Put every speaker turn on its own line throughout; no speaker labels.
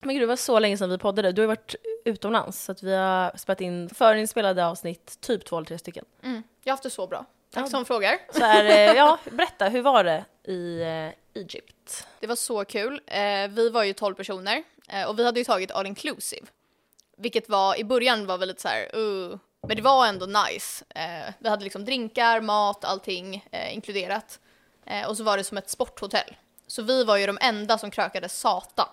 men gud det var så länge sedan vi poddade. Du har ju varit utomlands så att vi har spelat in förinspelade avsnitt, typ två eller tre stycken.
Mm. Jag har haft det så bra. Tack
Ja.
som frågar.
Så här, eh, ja, berätta, hur var det i eh, Egypt?
Det var så kul. Eh, vi var ju 12 personer eh, och vi hade ju tagit all inclusive. Vilket var, i början var väl lite så här, uh, men det var ändå nice. Eh, vi hade liksom drinkar, mat, allting eh, inkluderat. Eh, och så var det som ett sporthotell. Så vi var ju de enda som krökade satan.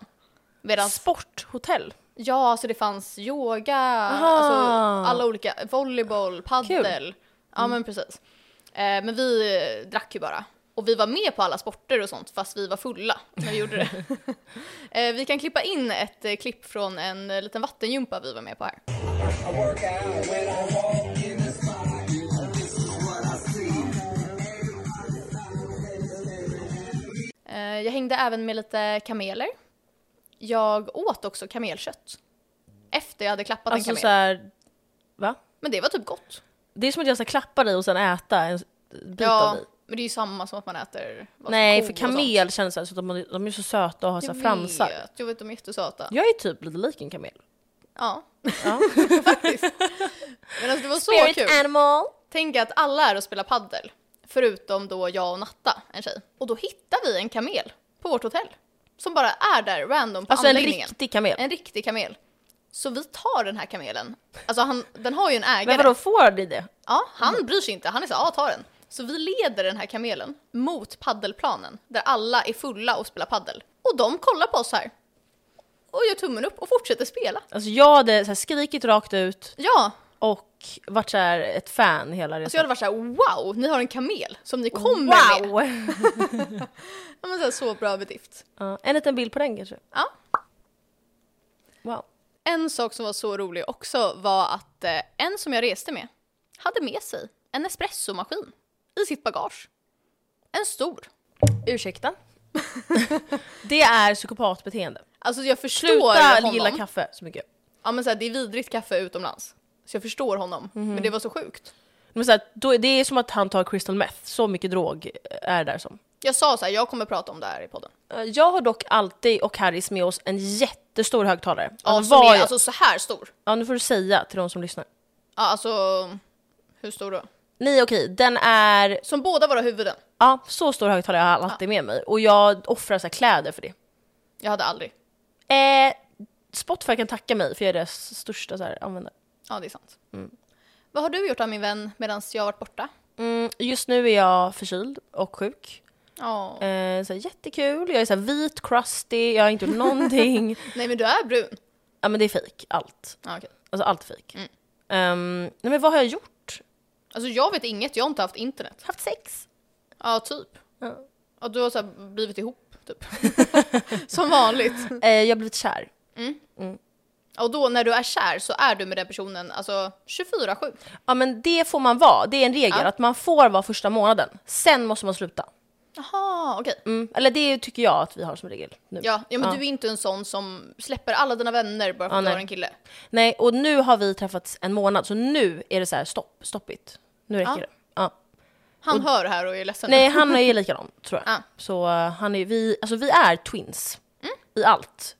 Medan,
Sporthotell.
ja alltså det fanns yoga,
Aha.
alltså alla olika, volleyboll, paddel. Ja men precis. Eh, men vi eh, drack ju bara. Och vi var med på alla sporter och sånt fast vi var fulla när vi gjorde det. eh, vi kan klippa in ett eh, klipp från en eh, liten vattenjumpa vi var med på här. Eh, Jag hängde även med lite kameler. Jag åt också kamelkött. Efter jag hade klappat en
Alltså
kamel.
så här, va?
Men det var typ gott.
Det är som att jag ska klappa dig och sen äta en s- bit av
Ja,
dig.
men det är ju samma som att man äter vad som
Nej,
ko
för
och sånt.
kamel känns så här, så att de, de är så söta och har så
Jag
här fransar.
vet, jag vet, de är jättesöta.
Jag är typ lite lik en kamel.
Ja,
Ja.
faktiskt. Men alltså det var så kul.
animal!
Tänk att alla är och spelar paddel. Förutom då jag och Natta, en tjej. Och då hittar vi en kamel på vårt hotell. Som bara är där random på
Alltså en
anläggningen.
riktig kamel.
en riktig kamel. Så vi tar den här kamelen. Alltså han, den har ju en ägare.
Men vadå, får de det?
Ja, han bryr sig inte. Han är så här, ja ta den. Så vi leder den här kamelen mot paddelplanen där alla är fulla och spelar paddel. Och de kollar på oss här. Och gör tummen upp och fortsätter spela.
Alltså jag hade så här skrikit rakt ut
Ja,
och varit så här ett fan hela
alltså jag
resan.
hade varit så här, wow, ni har en kamel som ni
Alltså,
kommer med.
wow!
Ja, men så, här, så bra bedrift.
Ja, en liten bild på den kanske?
Ja.
Wow.
En sak som var så rolig också var att eh, en som jag reste med hade med sig en espressomaskin i sitt bagage. En stor.
Ursäkta? det är psykopatbeteende.
Alltså jag förstår
Sluta
honom.
gilla kaffe så mycket.
Ja men så här, det är vidrigt kaffe utomlands. Så jag förstår honom.
Mhm.
Men det var så sjukt.
Men så här, då, är- det är som att han tar crystal meth, så mycket drog eh, är det där som.
Jag sa så här, jag kommer prata om det här i podden.
Eh, Jag har dock alltid och Harris med oss en jättestor högtalare.
Ja,
Alltså,
som
vad
är
jag-
alltså så här stor.
ja, nu får du säga till de som lyssnar.
Ja, alltså, hur stor då?
Nej okej, den är
Som båda våra huvuden.
Ja, så stor högtalare har jag alltid med mig och jag offrar så här kläder för det.
Jag hade aldrig.
Eh, Spotify kan tacka mig för jag är deras största så här, användare.
Ja, det är sant. Vad har du gjort av min vän medan jag har varit borta?
Mm, just nu är jag förkyld och sjuk.
Ja.
Eh, så här, jättekul, jag är så här vit, crusty, jag har inte gjort någonting.
Nej, men du är brun.
ja men det är fejk, allt.
Ja, okej.
Alltså allt är fejk.
Mm.
Ehm, nej men vad har jag gjort?
Alltså jag vet inget, jag har inte haft internet.
Haft sex.
Ja, typ.
Ja.
Ja, du har så här blivit ihop, typ. som vanligt.
Eh, jag har blivit kär.
Och då när du är kär så är du med den personen, alltså 24-7.
Ja men det får man vara, det är en regel
Ja.
att man får vara första månaden. Sen måste man sluta.
Jaha, okej.
Mm. Eller det tycker jag att vi har som regel nu.
Ja, ja men du är inte en sån som släpper alla dina vänner bara för
Ja,
att du
nej.
har en kille.
Nej, och nu har vi träffats en månad, så nu är det så här stopp, stoppigt. Nu räcker
Ja.
det. Ja.
Han hör här och är ledsen.
Nej, han är ju likadan tror jag.
Ja. Mm.
Så eh, han är, vi, alltså, vi är twins i allt.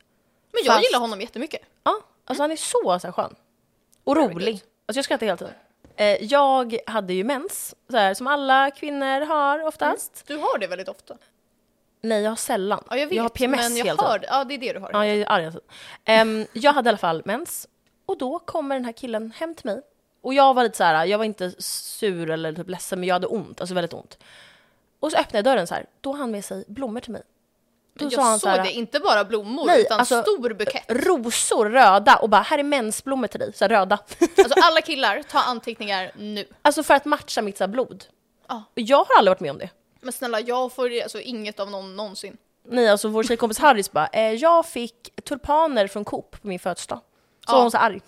men jag
fast-
gillar honom jättemycket.
Ja, alltså han är så, så här, skön. Och rolig. Alltså jag skrattar hela tiden. Eh, jag hade ju mens, så här, som alla kvinnor har oftast.
Du har det väldigt ofta.
Nej, jag har sällan.
Mm. Ja, jag vet,
har PMS
men jag
hela
hör
tiden.
det. Ja, det är det du har.
Ja, jag är arg hela tiden. Ehm, Jag hade i alla fall mens. Och då kommer den här killen hem till mig. Och jag var lite så här, jag var inte sur eller typ ledsen, men jag hade ont, alltså väldigt ont. Och så öppnade jag dörren så här, då har han med sig blommor till mig. Då
jag
sa han så
såg
här,
det, inte bara blommor
Nej,
utan
alltså-
stor bukett.
rosor röda och bara, här är mensblommor till dig, så här röda.
Alltså alla killar, ta anteckningar nu.
alltså för att matcha mitt så här blod.
Ja.
Och jag har aldrig varit med om det.
Men snälla, jag får alltså inget av någon någonsin.
Nej, alltså vår tjejkompis Harris bara, eh, jag fick tulpaner från Coop på min födelsedag. Så var hon så arg.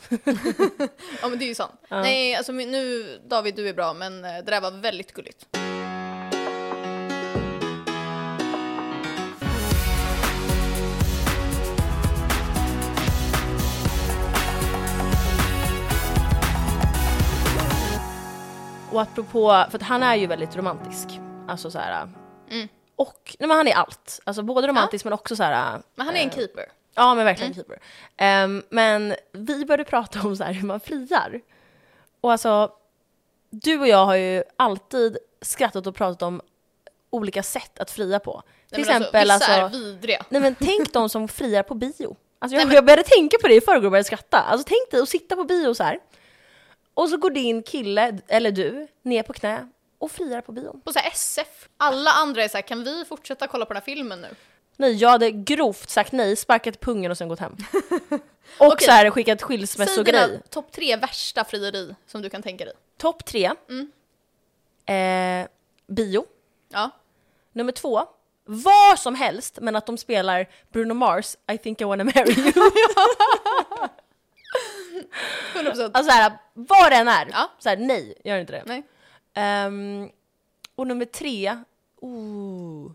Ja men det är ju sant. Nej, alltså men nu David, du är bra men eh, det där var väldigt gulligt.
Och apropå, för att han är ju väldigt romantisk. Alltså
Mm.
så här. Och, nej men han är allt. Alltså både romantisk men också så här.
Men han är en keeper.
Ja Ja men verkligen
Mm.
keeper. Ehm, men vi började prata om så här hur man friar. Och alltså, du och jag har ju alltid skrattat och pratat om olika sätt att fria på. Till
Nej, men
exempel
alltså,
alltså,
vissa är vidriga.
nej men tänk de som friar på bio. Alltså jag,
Nej, men-
jag började tänka på det i förrgår och började skratta. Alltså tänk dig att sitta på bio så här. Och så går din kille, eller du, ner på knä och friar på bion.
På så här SF. Alla andra är så här, kan vi fortsätta kolla på den här filmen nu?
Nej, jag hade grovt sagt nej, sparkat pungen och sen gått hem. Och
Okej.
så här skickat
Säg dina
skilsmässogrej.
topp tre värsta frieri som du kan tänka dig.
Topp tre.
Mm.
Eh, bio.
Ja.
Nummer två. Vad som helst, men att de spelar Bruno Mars, I think I wanna marry you.
100%.
alltså såhär, vad det än är.
Ja.
Såhär, nej, gör inte det.
Nej.
Ehm, och nummer tre, ooh.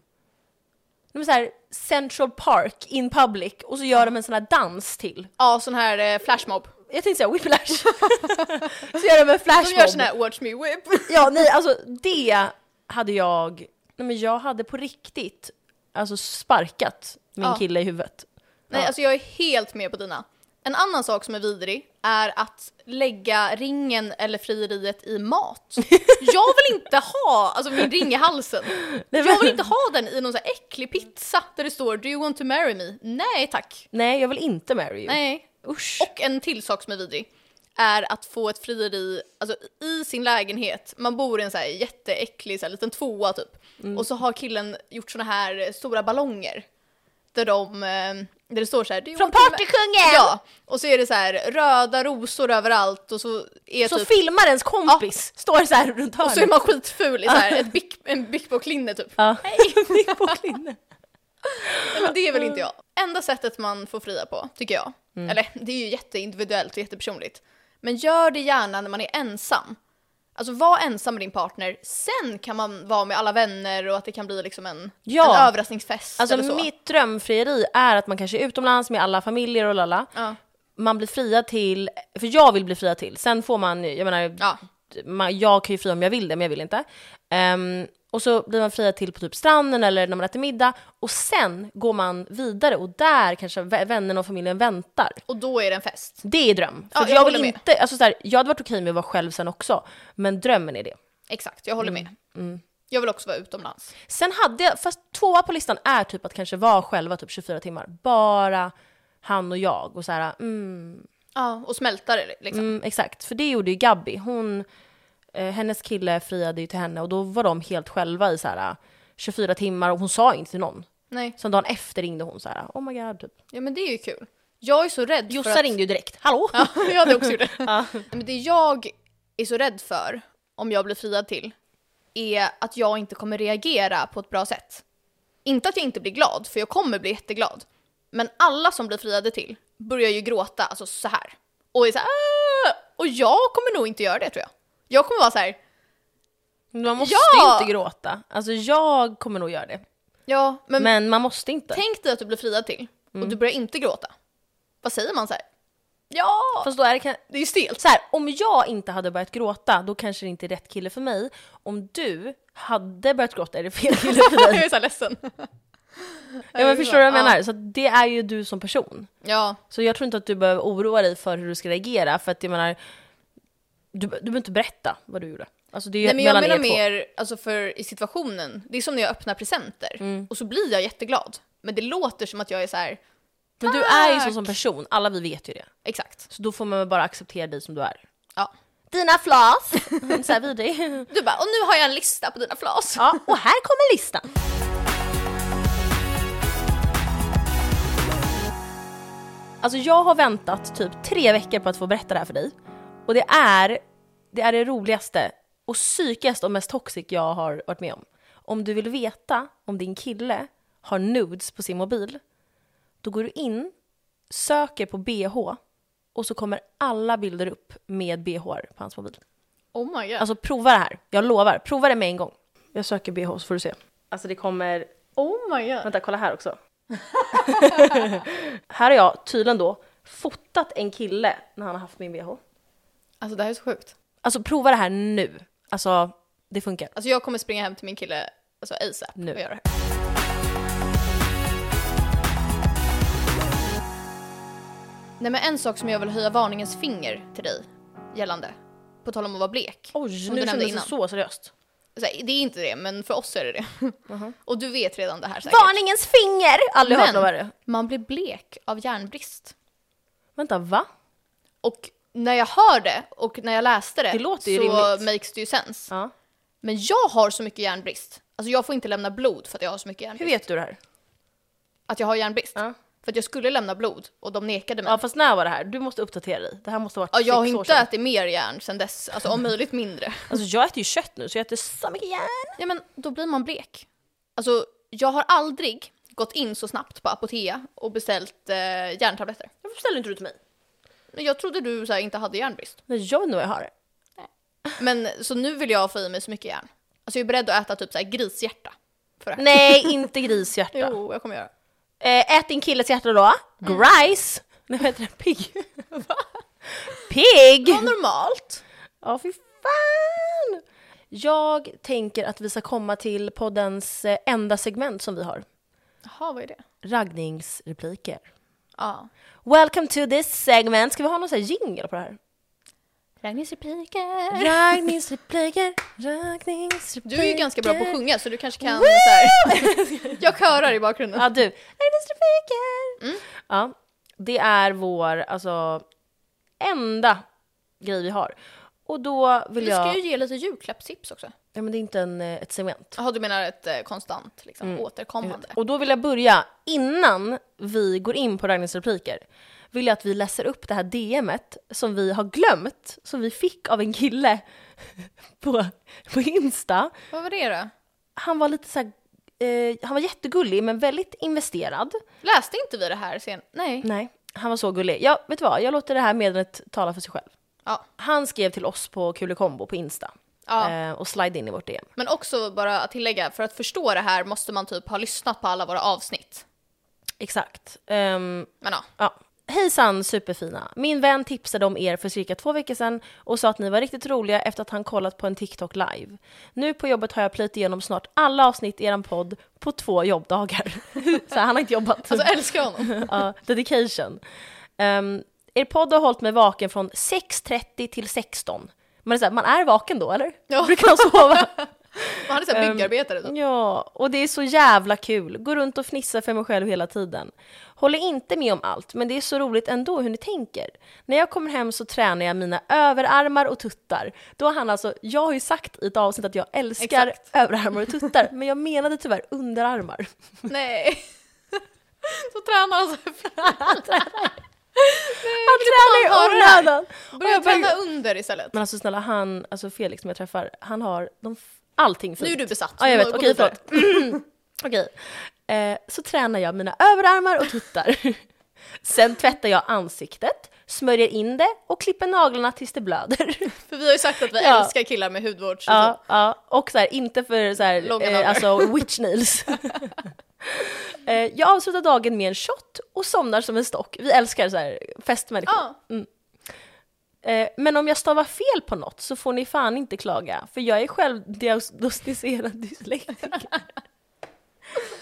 Nummer såhär, Central Park in public, och så gör de en sån här dans till.
Ja, sån här eh, flashmob.
Jag tänkte säga whiplash. så gör de en flashmob.
De gör sån här watch me whip.
Ja, nej, alltså det hade jag... Nej, men jag hade på riktigt alltså sparkat min
Ja.
kille i huvudet.
Nej,
Ja.
alltså jag är helt med på dina. En annan sak som är vidrig är att lägga ringen eller frieriet i mat. Jag vill inte ha alltså min ring i halsen.
men-
Jag vill inte ha den i någon så här äcklig pizza där det står “Do you want to marry me?” Nej tack.
Nej, jag vill inte marry you.
Nej.
Usch.
Och en till sak som är vidrig är att få ett frieri alltså, i sin lägenhet. Man bor i en så här jätteäcklig så här, liten tvåa typ.
Mm.
Och så har killen gjort såna här stora ballonger. Där, de, eh, där det står så här... "Do you
Från
want to ma-"
partykungen!
Ja, och så är det så här röda rosor överallt och så är
så
typ...
filmar ens kompis, står så här runt hörnet.
Och så är man skitful i så här ett bic, en Bic Bock-linne typ.
Ja. Mitt på klinne.
Nej, men det är väl inte jag. Enda sättet man får fria på, tycker jag.
Mm.
Eller det är ju jätteindividuellt och jättepersonligt. Men gör det gärna när man är ensam. Alltså var ensam med din partner, sen kan man vara med alla vänner och att det kan bli liksom en,
Ja.
en överraskningsfest
Alltså
eller så.
mitt drömfrieri är att man kanske är utomlands med alla familjer och lalla.
Ja.
Man blir fria till, för jag vill bli fria till, sen får man, jag menar,
Ja.
man, jag kan ju fria om jag vill det, men jag vill inte. Ehm, och så blir man fria till på typ stranden eller när man äter middag. Och sen går man vidare och där kanske vä- vännerna och familjen väntar.
Och då är det en fest.
Det är dröm. För
Ja,
att
jag
jag, vill
håller med.
inte, alltså så här, jag hade varit okej med att vara själv sen också, men drömmen är det.
Exakt, jag håller
Mm.
med. Jag vill också vara utomlands.
Sen hade jag, fast tvåa på listan är typ att kanske vara själva typ 24 timmar. Bara han och jag och så här, mm,
Ja, och smälta det liksom.
Mm, exakt, för det gjorde ju Gabby. Hon, eh, hennes kille friade ju till henne och då var de helt själva i så här, eh, 24 timmar och hon sa inte till någon.
Nej,
Sen dagen efter ringde hon så här, oh my god. Typ.
ja men det är ju kul. Jag är så rädd för
Jossa
att...
ringde ju direkt, hallå?
Ja, jag hade också gjort det. Men det jag är så rädd för, om jag blir friad till, är att jag inte kommer reagera på ett bra sätt. Inte att jag inte blir glad, för jag kommer bli jätteglad. Men alla som blir friade till börjar ju gråta, alltså så här. Och är så här, "Aah!" Och jag kommer nog inte göra det tror jag. Jag kommer vara så här,
Man måste
Ja!
inte gråta. Alltså jag kommer nog göra det.
ja men,
Men man måste inte.
tänk dig att du blir friad till och du börjar inte gråta. Vad säger man så här? Ja!
Fast då är det kan-
Det är ju stelt.
så här, om jag inte hade börjat gråta, då kanske det inte är rätt kille för mig. Om du hade börjat gråta är det fel kille för
jag
dig.
är så här ledsen.
ja, men förstår du vad jag
Ja.
menar? Så att det är ju du som person.
Ja,
Så jag tror inte att du behöver oroa dig för hur du ska reagera, för att jag menar, du, du behöver inte berätta vad du gjorde. Alltså det är ju
Nej men jag
mellan
menar
er två.
mer alltså för i situationen, det är som när jag öppnar presenter
Mm.
och så blir jag jätteglad. Men det låter som att jag är så här,
Men du är ju så
Tack!
som person, alla vi vet ju det.
exakt.
Så då får man väl bara acceptera dig som du är.
Ja.
Dina flas! Såhär vidrig.
Du bara, och nu har jag en lista på dina flas.
Ja, och här kommer listan. Alltså jag har väntat typ tre veckor på att få berätta det här för dig. Och det är det, är det roligaste och psykigaste och mest toxic jag har varit med om. Om du vill veta om din kille har nudes på sin mobil, då går du in, söker på bh och så kommer alla bilder upp med bh på hans mobil.
Oh my god.
Alltså prova det här, jag lovar. Prova det med en gång. Jag söker bh så får du se. Alltså det kommer...
oh my god.
Vänta, kolla här också. här har jag tydligen då fotat en kille när han har haft min bh.
Alltså det här är så sjukt.
Alltså prova det här nu. Alltså, det funkar.
Alltså jag kommer springa hem till min kille alltså ASAP
Nu.
och göra det här. Nej men en sak som jag vill höja varningens finger till dig gällande. På tal om att vara blek.
Oj,
Som
nu
du nämnde
kändes det
innan.
så seriöst.
Så här, det är inte det, men för oss är det det. Och du vet redan det här säkert.
Varningens finger! Aldrig hört
Men
något värre.
man blir blek av järnbrist.
Vänta, va?
Och när jag hör det och när jag läste det,
Det låter ju
så
rimligt.
makes det ju sens.
Ja.
Men jag har så mycket järnbrist. Alltså jag får inte lämna blod för att jag har så mycket
Hur
järnbrist.
vet du det här?
Att jag har järnbrist.
Ja.
För att jag skulle lämna blod och de nekade mig.
Ja fast när var det här? Du måste uppdatera dig. Det här måste ha varit
Ja, jag har
sex år
inte
sedan.
ätit mer järn sedan dess, alltså om möjligt mindre.
Alltså jag äter ju kött nu så jag äter så mycket järn.
Ja men då blir man blek. Alltså jag har aldrig gått in så snabbt på Apotea och beställt eh, järntabletter.
Varför ställer inte du till mig?
Men Jag trodde du så här, inte hade järnbrist.
Nej jag vet inte vad jag har.
Men så nu vill jag få i mig så mycket järn. Alltså jag är beredd att äta typ så här grishjärta. För det här.
Nej inte grishjärta.
Jo, jag kommer göra.
Eh, ät din killes hjärta då.
Mm.
Grice. Nej vad heter det? Pigg. Pigg!
Ja, normalt.
Ja fy fan! Jag tänker att vi ska komma till poddens eh, enda segment som vi har.
Jaha, vad är det?
Raggningsrepliker.
Ja.
Welcome to this segment. Ska vi ha någon sån här jingle på det här?
Raggningsrepliker.
Raggningsrepliker, raggningsrepliker.
Du är ju ganska bra på att sjunga så du kanske kan så här. Jag körar i bakgrunden.
Ja, du. Raggningsrepliker.
Mm.
Ja, det är vår, alltså, enda grej vi har. Och då vill
Vi ska
jag...
ju ge lite julklappstips också.
Ja, men det är inte en, eh, ett segment.
Jaha, du menar ett eh, konstant liksom, återkommande?
Och då vill jag börja, innan vi går in på raggningsrepliker, vill jag att vi läser upp det här DMet som vi har glömt, som vi fick av en kille på, på Insta.
Vad var det då?
han var lite så här, eh, han var jättegullig men väldigt investerad.
Läste inte vi det här sen? Nej.
Nej, han var så gullig. Jag, vet du vad, jag låter det här medlet tala för sig själv.
Ja.
Han skrev till oss på Kulekombo på Insta
ja.
eh, och slide in i vårt DM.
Men också bara att tillägga, för att förstå det här måste man typ ha lyssnat på alla våra avsnitt.
Exakt. Ehm,
Men ja.
ja. Hejsan superfina! Min vän tipsade om er för cirka två veckor sedan och sa att ni var riktigt roliga efter att han kollat på en TikTok live. Nu på jobbet har jag plöjt igenom snart alla avsnitt i eran podd på två jobbdagar. så han har inte jobbat.
Alltså älskar honom.
Ja, dedication. Ehm, er podd har hållit mig vaken från 6.30 till 16. Man är, så här, man är vaken då eller?
Ja.
Brukar man sova?
Man hade
Ehm.
såhär byggarbetare typ.
typ.
då.
ja, och det är så jävla kul. Går runt och fnissar för mig själv hela tiden. Håller inte med om allt, men det är så roligt ändå hur ni tänker. När jag kommer hem så tränar jag mina överarmar och tuttar. Då har han alltså, jag har ju sagt i ett avsnitt att jag älskar
Exakt.
överarmar och tuttar, men jag menade tyvärr underarmar.
Nej. Så tränar han så här.
Han tränar
fan
ju
höra det typ här?
onödan! Och
Börja
jag bara-
träna under istället.
Men alltså snälla, han, alltså Felix som jag träffar, han har de f- allting fint.
Nu är du besatt.
Ja, jag vet.
Gå
Okej,
vidare.
förlåt. Okej. Eh, så tränar jag mina överarmar och tuttar. Sen tvättar jag ansiktet, smörjer in det och klipper naglarna tills det blöder.
För vi har ju sagt att vi
Ja.
älskar killar med hudvårds...
ja, ja. Och så här, inte för så här,
Långa
eh,
naglar.
alltså witch nails. eh, jag avslutar dagen med en shot och somnar som en stock. Vi älskar så här festmänniskor.
Ja.
Eh, men om jag stavar fel på något så får ni fan inte klaga, för jag är självdiagnostiserad dyslektiker.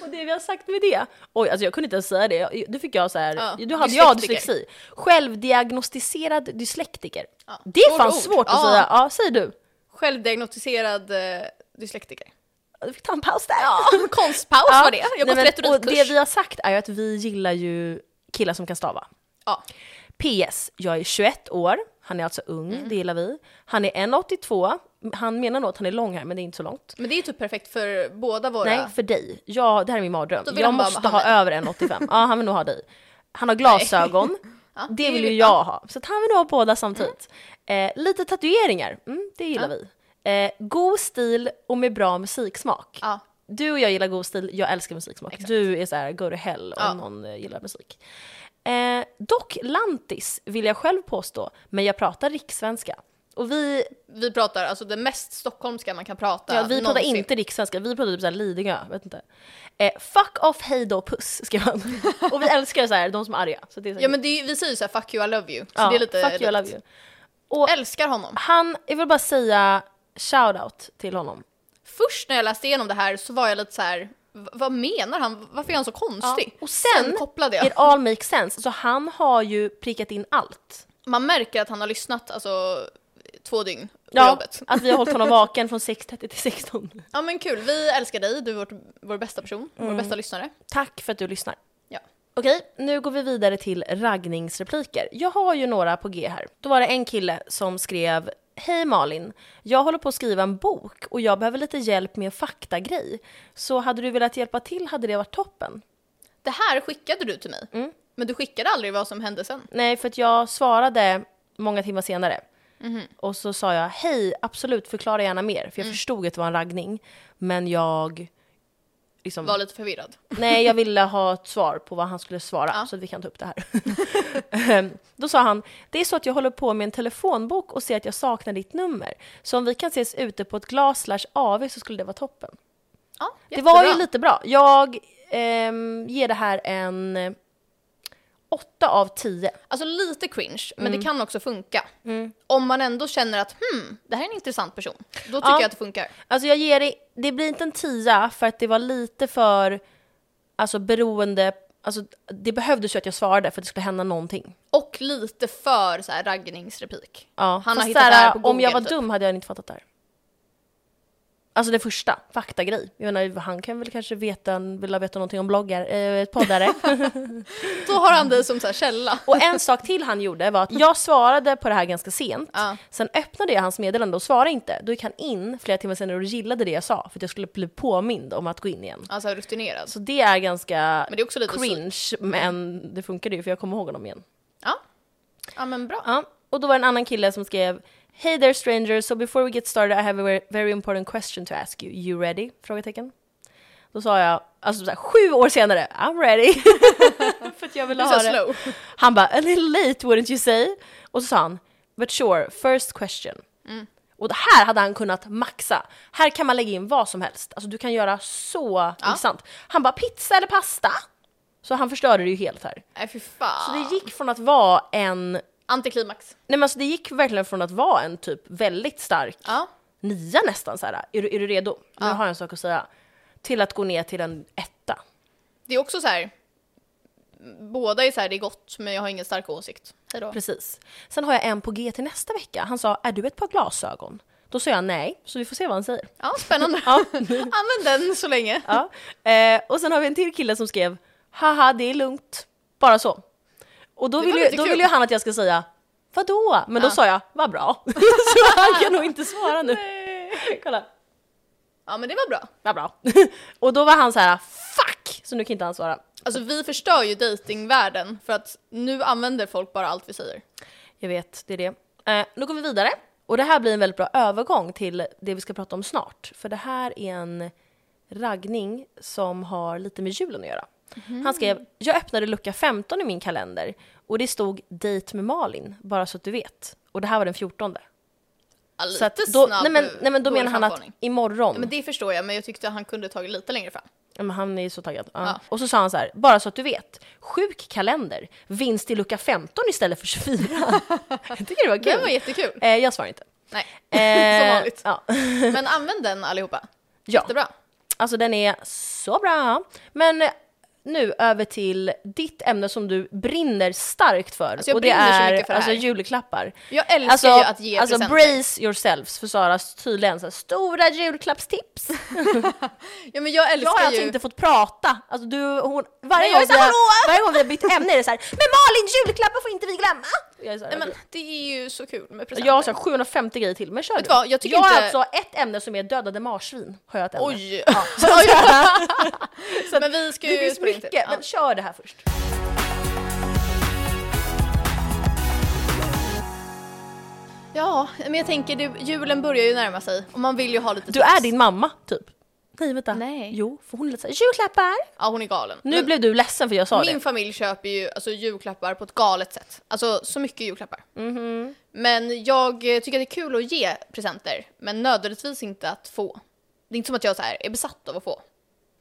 Och det vi har sagt med det, oj alltså jag kunde inte ens säga det, Jag- då fick jag så här,
Ja,
då hade jag
dyslektiker.
dyslexi. Självdiagnostiserad dyslektiker.
Ja,
Det är
svårt
fan
ord.
svårt att
Ja.
säga, ja säg du.
Självdiagnostiserad eh, dyslektiker.
Du fick ta en paus där.
Konstpaus
Ja.
var det. Jag
Nej,
har gått
men- och
retorikkurs.
Det vi har sagt är ju att vi gillar ju killar som kan stava.
Ja.
PS, jag är 21 år, han är alltså ung,
Mm.
det gillar vi. Han är 1,82, han menar nog att han är lång här men det är inte så långt.
Men det är typ perfekt för båda våra...
Nej, för dig. Jag, det här är min mardröm.
Då vill
Jag
han bara
måste
ha
ha
mig.
över 1,85. ja, han vill nog ha dig. Han har glasögon,
Ja, Mm.
det vill
vi.
ju jag ha. Så att han vill nog ha båda samtidigt. Eh, lite tatueringar, mm, det gillar vi. Eh, god stil och med bra musiksmak.
Ja.
Du och jag gillar god stil, jag älskar musiksmak. Du är så här, go to hell om
Ja.
någon eh, gillar musik. Eh, dock lantis vill jag själv påstå, men jag pratar rikssvenska. Och vi,
Vi pratar alltså det mest stockholmska man kan prata
ja, vi pratar
någonsin.
inte rikssvenska, vi pratar typ såhär Lidingö, vet inte. Eh, fuck off, hej då, puss skrev han. Och vi älskar så här, de som är arga. Så det är så här,
Ja men det, är- vi säger ju såhär 'fuck you, I love you' så
ja,
det är lite...
fuck you, I love you.
Älskar honom.
Han, jag vill bara säga shout out till honom.
Först när jag läste igenom det här så var jag lite så här. v- vad menar han? Varför är han så konstig?
Ja, och sen-
kopplade jag.
It all makes sense. Så han har ju prickat in allt.
Man märker att han har lyssnat alltså två dygn på jobbet.
att vi har hållit honom vaken från 6.30 till 16.
Ja men kul, vi älskar dig, du är vårt, vår bästa person,
Mm.
vår bästa lyssnare.
Tack för att du lyssnar.
Ja.
Okej, nu går vi vidare till raggningsrepliker. Jag har ju några på G här. Då var det en kille som skrev Hej Malin, jag håller på att skriva en bok och jag behöver lite hjälp med en faktagrej. Så hade du velat hjälpa till hade det varit toppen.
Det här skickade du till mig,
Mm.
men du skickade aldrig vad som hände sen.
Nej, för att jag svarade många timmar senare. Och så sa jag hej, absolut, förklara gärna mer. För jag förstod att det var en raggning. Men jag... Liksom,
Var lite förvirrad.
Nej, jag ville ha ett svar på vad han skulle svara,
Ja.
så att vi kan ta upp det här. Ehm, Då sa han, det är så att jag håller på med en telefonbok och ser att jag saknar ditt nummer. Så om vi kan ses ute på ett glas slash AV så skulle det vara toppen.
Ja,
Det var ju
jättebra.
lite bra. Jag ehm, ger det här en eh, åtta av tio.
Alltså lite cringe, men
Mm.
det kan också funka. Om man ändå känner att hmm, det här är en intressant person, då
Ja.
tycker jag att det funkar.
Alltså jag ger det, det blir inte en tia för att det var lite för, alltså beroende, alltså det behövdes ju att jag svarade för att det skulle hända någonting.
Och lite för så här raggningsreplik.
Ja,
Han har
fast
hittat
så här,
det här på
Om jag var
Google, typ.
dum hade jag inte fattat det här. Alltså det första, faktagrej. Jag menar, han kan väl kanske veta, vilja veta någonting om bloggar, eh, poddare.
Då har han dig som så här källa.
och en sak till han gjorde var att jag svarade på det här ganska sent.
Ja.
Sen öppnade jag hans meddelande och svarade inte. Då gick han in flera timmar senare och gillade det jag sa för att jag skulle bli påmind om att gå in igen.
Alltså rutinerad.
Så det är ganska
Men det är också lite
cringe, men det funkade ju för jag kommer ihåg honom igen.
Ja. ja, men bra.
Ja, och då var det en annan kille som skrev Hey there stranger, so before we get started I have a ver- very important question to ask you. You ready? Frågetecken. Då sa jag, alltså så här, sju år senare, I'm ready. För att jag
Du
ville
är
ha det.
så slow.
Han bara, a little late wouldn't you say? Och så sa han, but sure, first question. Och det här hade han kunnat maxa. Här kan man lägga in vad som helst. Alltså du kan göra så intressant. Han bara, pizza eller pasta? Så han förstörde det ju helt här.
Nej, fy
Så
fan.
det gick från att vara en
Antiklimax.
Nej men alltså det gick verkligen från att vara en typ väldigt stark
Ja.
nia nästan så här. Är du, är du redo? Nu har jag en sak att säga. Till att gå ner till en etta.
Det är också så här. Båda är så här, det är gott, men jag har ingen stark åsikt. Hej då.
Precis. Sen har jag en på G till nästa vecka. Han sa, är du ett par glasögon? Då sa jag nej, så vi får se vad han säger.
Ja, spännande. Använd den så länge.
Ja. Eh, och sen har vi en till kille som skrev, haha det är lugnt. Bara så. Och då
Det
vill,
var
ju,
lite
då
kul.
vill ju han att jag ska säga, vadå? Men då
Ja.
sa jag, vad bra. så han kan nog inte svara nu. Kolla.
Ja, men det var bra.
Vad bra. och då var han så här: fuck! Så nu kan inte han svara.
Alltså vi förstör ju datingvärlden för att nu använder folk bara allt vi säger.
Jag vet, det är det. Eh, nu går vi vidare. Och det här blir en väldigt bra övergång till det vi ska prata om snart. För det här är en raggning som har lite med julen att göra.
Mhm.
Han skrev, jag öppnade lucka 15 i min kalender och det stod dejt med Malin, bara så att du vet. Och det här var den 14.
Ja,
Så att
lite
då,
snabb,
nej men, nej men då
dålig
menar han att
framförhållning.
imorgon.
Men det förstår jag, men jag tyckte han kunde tagit lite längre fram.
Ja, Men han är ju så taggad. Ja.
Ja.
Och så sa han så här, bara så att du vet, sjuk kalender, vinst i lucka 15 istället för 24. jag tycker det var
Den var
kul.
jättekul.
Eh, jag svarar inte.
Nej,
Eh,
som vanligt.
Ja.
Men använd den allihopa.
ja,
Jättebra.
alltså den är så bra. Men eh, nu över till ditt ämne som du brinner starkt för.
Alltså, jag
och det
brinner så
är
mycket för det
alltså
här.
julklappar.
Jag älskar
Alltså,
ju att ge
alltså
presenter.
brace yourselves för Saras tydligen så här, stora julklappstips.
Ja, men jag älskar
Jag har alltså
ju...
inte fått prata. Alltså du, hon, varje,
Men jag
gång
är
vi
så här,
har, varje gång vi har bytt ämne är det så här, men Malin julklappar får inte vi glömma! Jag, är så här,
Nej, men det är ju så kul med presenter.
jag har så här 750 grejer till, men kör
Vet du vad, jag tycker
har
inte-
alltså ett ämne som är dödade marsvin. Har jag ett ämne.
Oj!
Så att-
men vi ska ju
det finns
springa till.
mycket,
Ja.
men kör det här först.
Ja, men jag tänker, det, julen börjar ju närma sig och man vill ju ha lite
Du är din mamma, typ. Nej vänta.
Nej.
Jo, för hon är lite såhär, julklappar!
Ja, hon är galen.
Nu
Men
blev du ledsen för jag sa
min
det.
familj köper ju alltså, julklappar på ett galet sätt. Alltså så mycket julklappar.
Mm-hmm.
Men jag eh, tycker att det är kul att ge presenter, men nödvändigtvis inte att få. Det är inte som att jag så här, är besatt av att få.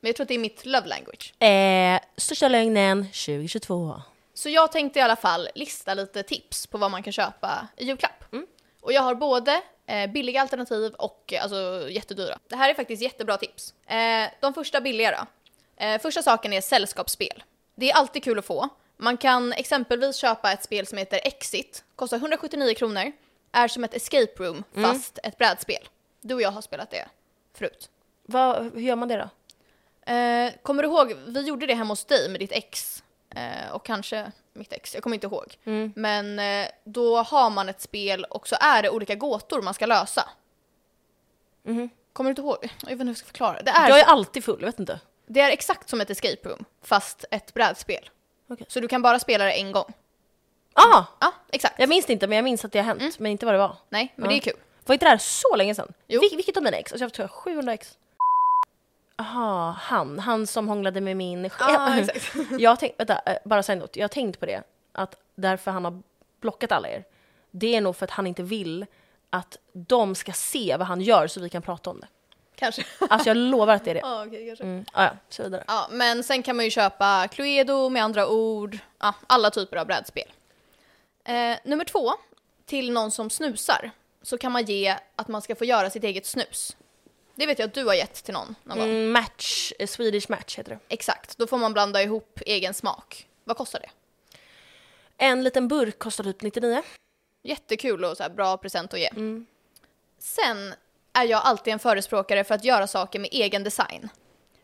Men jag tror att det är mitt love language.
Eh, största lögnen 2022.
Så jag tänkte i alla fall lista lite tips på vad man kan köpa i julklapp. Och jag har både eh, billiga alternativ och eh, alltså, jättedyra. Det här är faktiskt jättebra tips. Eh, de första billiga då. Eh, första saken är sällskapsspel. Det är alltid kul att få. Man kan exempelvis köpa ett spel som heter Exit, kostar 179 kronor, är som ett escape room fast ett brädspel. Du och jag har spelat det förut.
Vad, hur gör man det då?
Eh, kommer du ihåg, vi gjorde det hemma hos dig med ditt ex eh, och kanske mitt ex, jag kommer inte ihåg.
Mm.
Men eh, då har man ett spel och så är det olika gåtor man ska lösa. Kommer du inte ihåg? Jag vet inte hur jag ska förklara. Det är,
Mm-hmm. Jag är alltid full, jag vet inte.
det är exakt som ett escape room, fast ett brädspel.
Okej.
Så du kan bara spela det en gång.
Ah!
Ja, exakt.
Jag minns det inte, men jag minns att det har hänt, men inte vad det var.
Nej, men det är kul.
Var inte det här så länge sedan?
Jo.
Vil- vilket av mina ex? Alltså jag tror jag har 700 ex. Aha, han. Han som hånglade med min chef.
Ah, exakt.
jag tänk, vänta, eh, bara säg något. Jag har tänkt på det. Att därför han har blockat alla er. Det är nog för att han inte vill att de ska se vad han gör så vi kan prata om det.
Kanske.
Alltså jag lovar att det är det.
Ja, okej, kanske.
Mm. Ah, ja, så vidare.
Ja, men sen kan man ju köpa Cluedo med andra ord, ja, alla typer av brädspel. Eh, nummer två, till någon som snusar så kan man ge att man ska få göra sitt eget snus. Det vet jag att du har gett till någon någon gång.
Mm, match, eh, Swedish match heter det.
Exakt, då får man blanda ihop egen smak. Vad kostar det?
En liten burk kostar typ 99.
Eh, Jättekul och så här bra present att ge. Sen är jag alltid en förespråkare för att göra saker med egen design.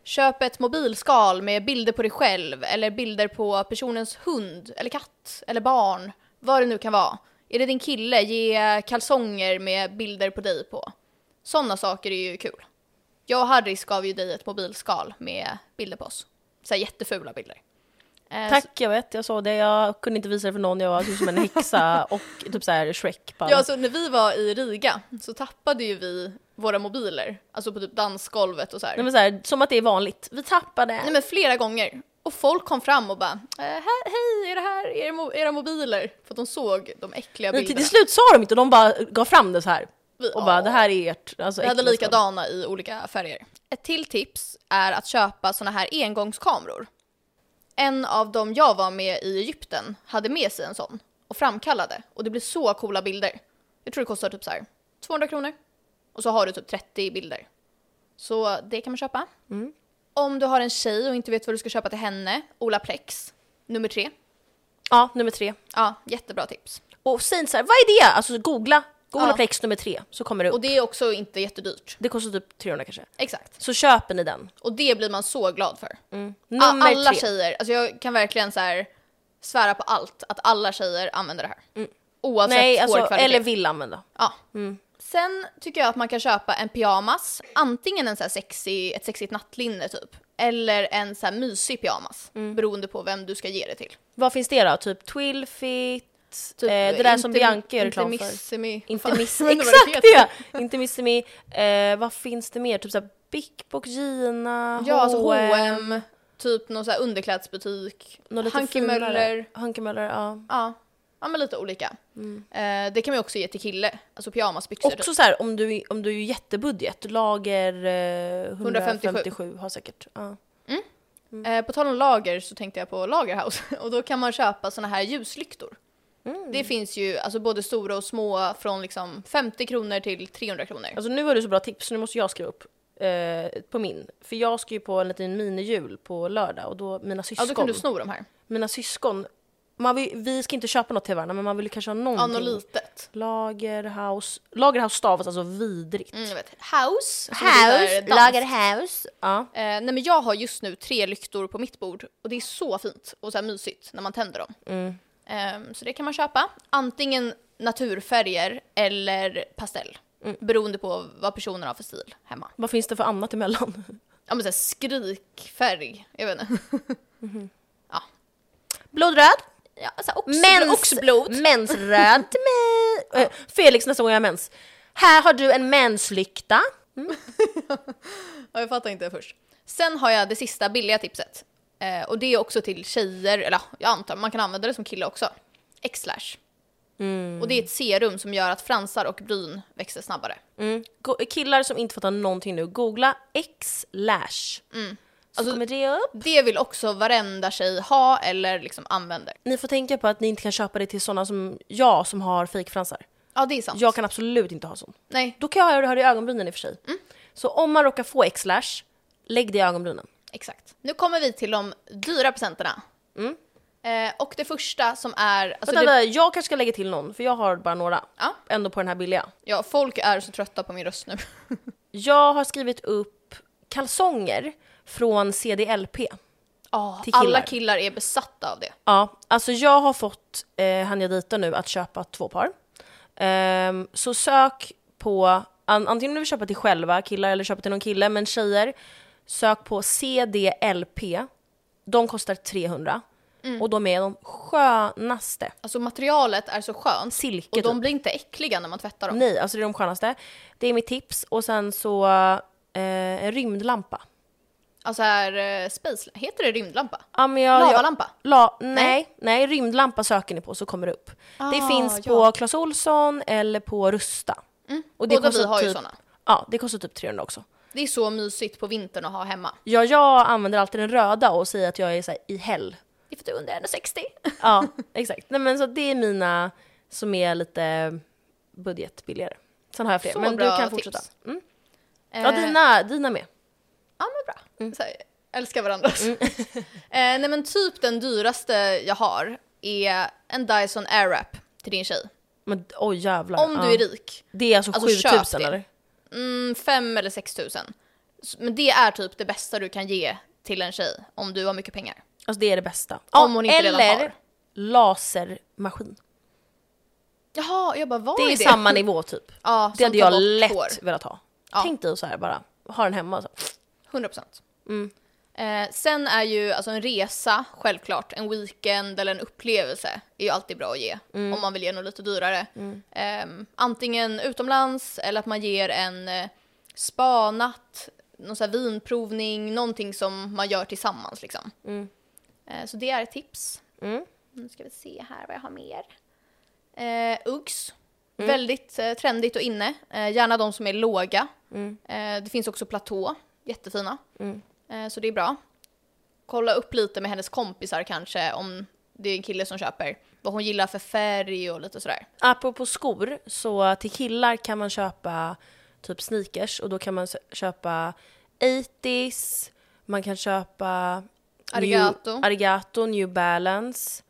Köp ett mobilskal med bilder på dig själv eller bilder på personens hund eller katt eller barn. Vad det nu kan vara. Är det din kille, ge kalsonger med bilder på dig på. Sådana saker är ju kul. Jag och Harris gav ju dig ett mobilskal med bilder på oss. Så här jättefula bilder. Eh,
Tack, jag vet, jag såg det. Jag kunde inte visa det för någon, jag var typ som en häxa och typ så här Shrek. Bara.
Ja, alltså när vi var i Riga så tappade ju vi våra mobiler, alltså på typ dansgolvet och så här.
Nej, men så här, som att det är vanligt. Vi tappade.
Nej, men flera gånger. Och folk kom fram och bara eh, här, “Hej, är det här era, mo- era mobiler?” För att de såg de äckliga
Nej, till, till
bilderna.
slut sa de inte, de bara gav fram det så här.
Vi-
Och bara,
ja.
det här är ert. Alltså,
Vi hade
äckliga skål.
likadana i olika färger. Ett till tips är att köpa såna här engångskameror. En av dem jag var med i Egypten hade med sig en sån och framkallade och det blev så coola bilder. Jag tror det kostar typ så här 200 kronor och så har du typ 30 bilder. Så det kan man köpa. Om du har en tjej och inte vet vad du ska köpa till henne, Olaplex, nummer tre.
Ja, nummer tre.
Ja, jättebra tips.
Och sen så här, vad är det? Alltså googla. Googla
Ja.
plex nummer tre, så kommer det upp.
Och det är också inte jättedyrt.
Det kostar typ 300 kanske.
Exakt.
Så köper ni den. Mm.
Och det blir man så glad för. Ja,
Nummer
alla
tre.
tjejer, alltså jag kan verkligen så här svära på allt att alla tjejer använder det här. Oavsett
Mm. Nej, alltså,
hårkvalitet.
eller Mm. vill använda.
Ja. Sen tycker jag att man kan köpa en pyjamas, antingen en så här sexy, ett sexigt nattlinne typ, eller en så här mysig pyjamas,
Mm.
beroende på vem du ska ge det till.
Vad finns det då? Typ twillfit,
Typ,
eh, det där som
inte-
Bianca gör reklam
inte
för.
Missimi.
Inte
Fan,
miss...
jag undrar vad
Exakt
heter.
det! Inte miss me. Eh, vad finns det mer? Typ såhär Bic Boc, Gina,
Ja, alltså
H&M,
H&M, typ någon så här underklädsbutik,
något lite
Hanke
finare.
Möller.
Hanke Möller, ja. Mm.
Ja, ja men lite olika. Eh, det kan man ju också ge till kille, alltså pyjamasbyxor. typ.
Också så här, om du, om du är jättebudget, lager eh, 157, 157 har säkert. Ja.
Eh, på tal om lager så tänkte jag på Lagerhaus och då kan man köpa såna här ljuslyktor.
Mm.
Det finns ju alltså både stora och små från liksom 50 kronor till 300 kronor.
Alltså nu har du så bra tips så nu måste jag skriva upp eh, på min. För jag ska ju på en liten minijul på lördag och då mina
Ja,
syskon,
då kan du sno de här.
mina syskon, man vill, vi ska inte köpa något till varandra men man vill kanske ha
Ja,
någonting.
något litet.
Lagerhaus, Lagerhaus stavas alltså vidrigt.
Mm, jag vet. House. som
House,
betyder dans.
Lagerhaus. Ja.
Eh, nej men jag har just nu tre lyktor på mitt bord och det är så fint och så här mysigt när man tänder dem.
Mm.
Eh, så det kan man köpa. Antingen naturfärger eller pastell.
Mm.
Beroende på vad personen har för stil hemma.
Vad finns det för annat emellan?
Ja men såhär skrikfärg, jag vet inte.
Blodröd.
Ja, så här oxblod.
Mens,
oxblod.
Mensröd till mig. Eh, Felix nästa gång jag har mens. Här har du en menslykta.
Ja, jag fattar inte först. Sen har jag det sista billiga tipset. Eh, och det är också till tjejer, eller ja, jag antar man kan använda det som kille också. X-slash.
Mm.
Och det är ett serum som gör att fransar och bryn växer snabbare.
Go- Killar som inte fattar någonting nu, googla x-lash. Så kommer det upp.
Det vill också varenda tjej ha eller liksom använder.
Ni får tänka på att ni inte kan köpa det till sådana som jag som har fejkfransar.
Ja, det är sant.
Jag kan absolut inte ha sån.
Nej,
Mm. Då kan jag ha det i ögonbrynen i och för sig. Så om man råkar få x-lash, lägg det i ögonbrynen.
Exakt. Nu kommer vi till de dyra presenterna.
Mm.
Eh, och det första som är... Alltså
Vänta,
det,
vänta, jag kanske ska lägga till någon, för jag har bara några.
Ja.
Ändå på den här billiga.
ja, folk är så trötta på min röst nu.
Jag har skrivit upp kalsonger från CDLP.
Ja,
Till
alla
killar.
killar är besatta av det.
Ja, alltså jag har fått eh, Hanjadita nu att köpa två par. Ehm, så sök på, an, antingen du vill köpa till själva killar eller köpa till någon kille, men tjejer, sök på CDLP. De kostar 300 och de är de skönaste.
Alltså materialet är så skönt.
Silke
Och de
typ.
blir inte äckliga när man tvättar dem.
Nej, alltså det är de skönaste. Det är mitt tips. Och sen så eh, en rymdlampa.
Alltså här, eh, space, heter det rymdlampa?
Ja, men jag, jag,
Lavalampa?
La, nej, nej, rymdlampa söker ni på så kommer det upp. det
Ah,
finns
ja. Mm.
på Clas Ohlson eller på Rusta. Och
Båda vi
kostar
har ju
typ,
såna.
Ja, det kostar typ 300 också.
Det är så mysigt på vintern att ha hemma.
Ja, jag använder alltid den röda och säger att jag är så här, i häll.
Det är för att du är under 160.
Ja, exakt. Nej, men så det är mina som är lite budgetbilligare. Sen har jag fler,
Så
men du
bra
kan
tips.
fortsätta. Mm. Ja,
Eh,
dina, Mm. dina med.
Ja men bra. Så här, älskar varandra.
Mm.
eh, nej men typ den dyraste jag har är en Dyson Airwrap till din tjej.
Men oj jävlar.
Om du
ja.
är rik.
Det är alltså,
Alltså, köp
7000
det.
eller?
Mm, fem eller sex tusen. S- Men det är typ det bästa du kan ge till en tjej om du har mycket pengar.
Alltså det är det bästa.
Om hon inte
eller
redan har.
lasermaskin.
Jaha, jag bara vad
Det är samma nivå typ.
Ja,
Det
som
hade
tar
jag
bort
lätt
hår.
velat ha.
Ja.
Tänk dig så här bara, ha den hemma så.
100 procent.
Mm.
Eh, sen är ju alltså en resa, självklart, en weekend eller en upplevelse är ju alltid bra att ge.
Mm.
Om man vill ge något lite dyrare. Ehm, antingen utomlands eller att man ger en eh, spanatt, någon sån här vinprovning, någonting som man gör tillsammans liksom. Eh, så det är ett tips.
Mm.
Nu ska vi se här vad jag har mer. Eh, Uggs. Väldigt eh, trendigt och inne. Eh, gärna de som är låga. Eh, det finns också platå. Jättefina. Eh, så det är bra. Kolla upp lite med hennes kompisar kanske om det är en kille som köper. Vad hon gillar för färg och lite sådär.
Apropå skor, så till killar kan man köpa typ sneakers och då kan man s- köpa 80s, man kan köpa
Arigato. Mm.
New, Arigato, New Balance.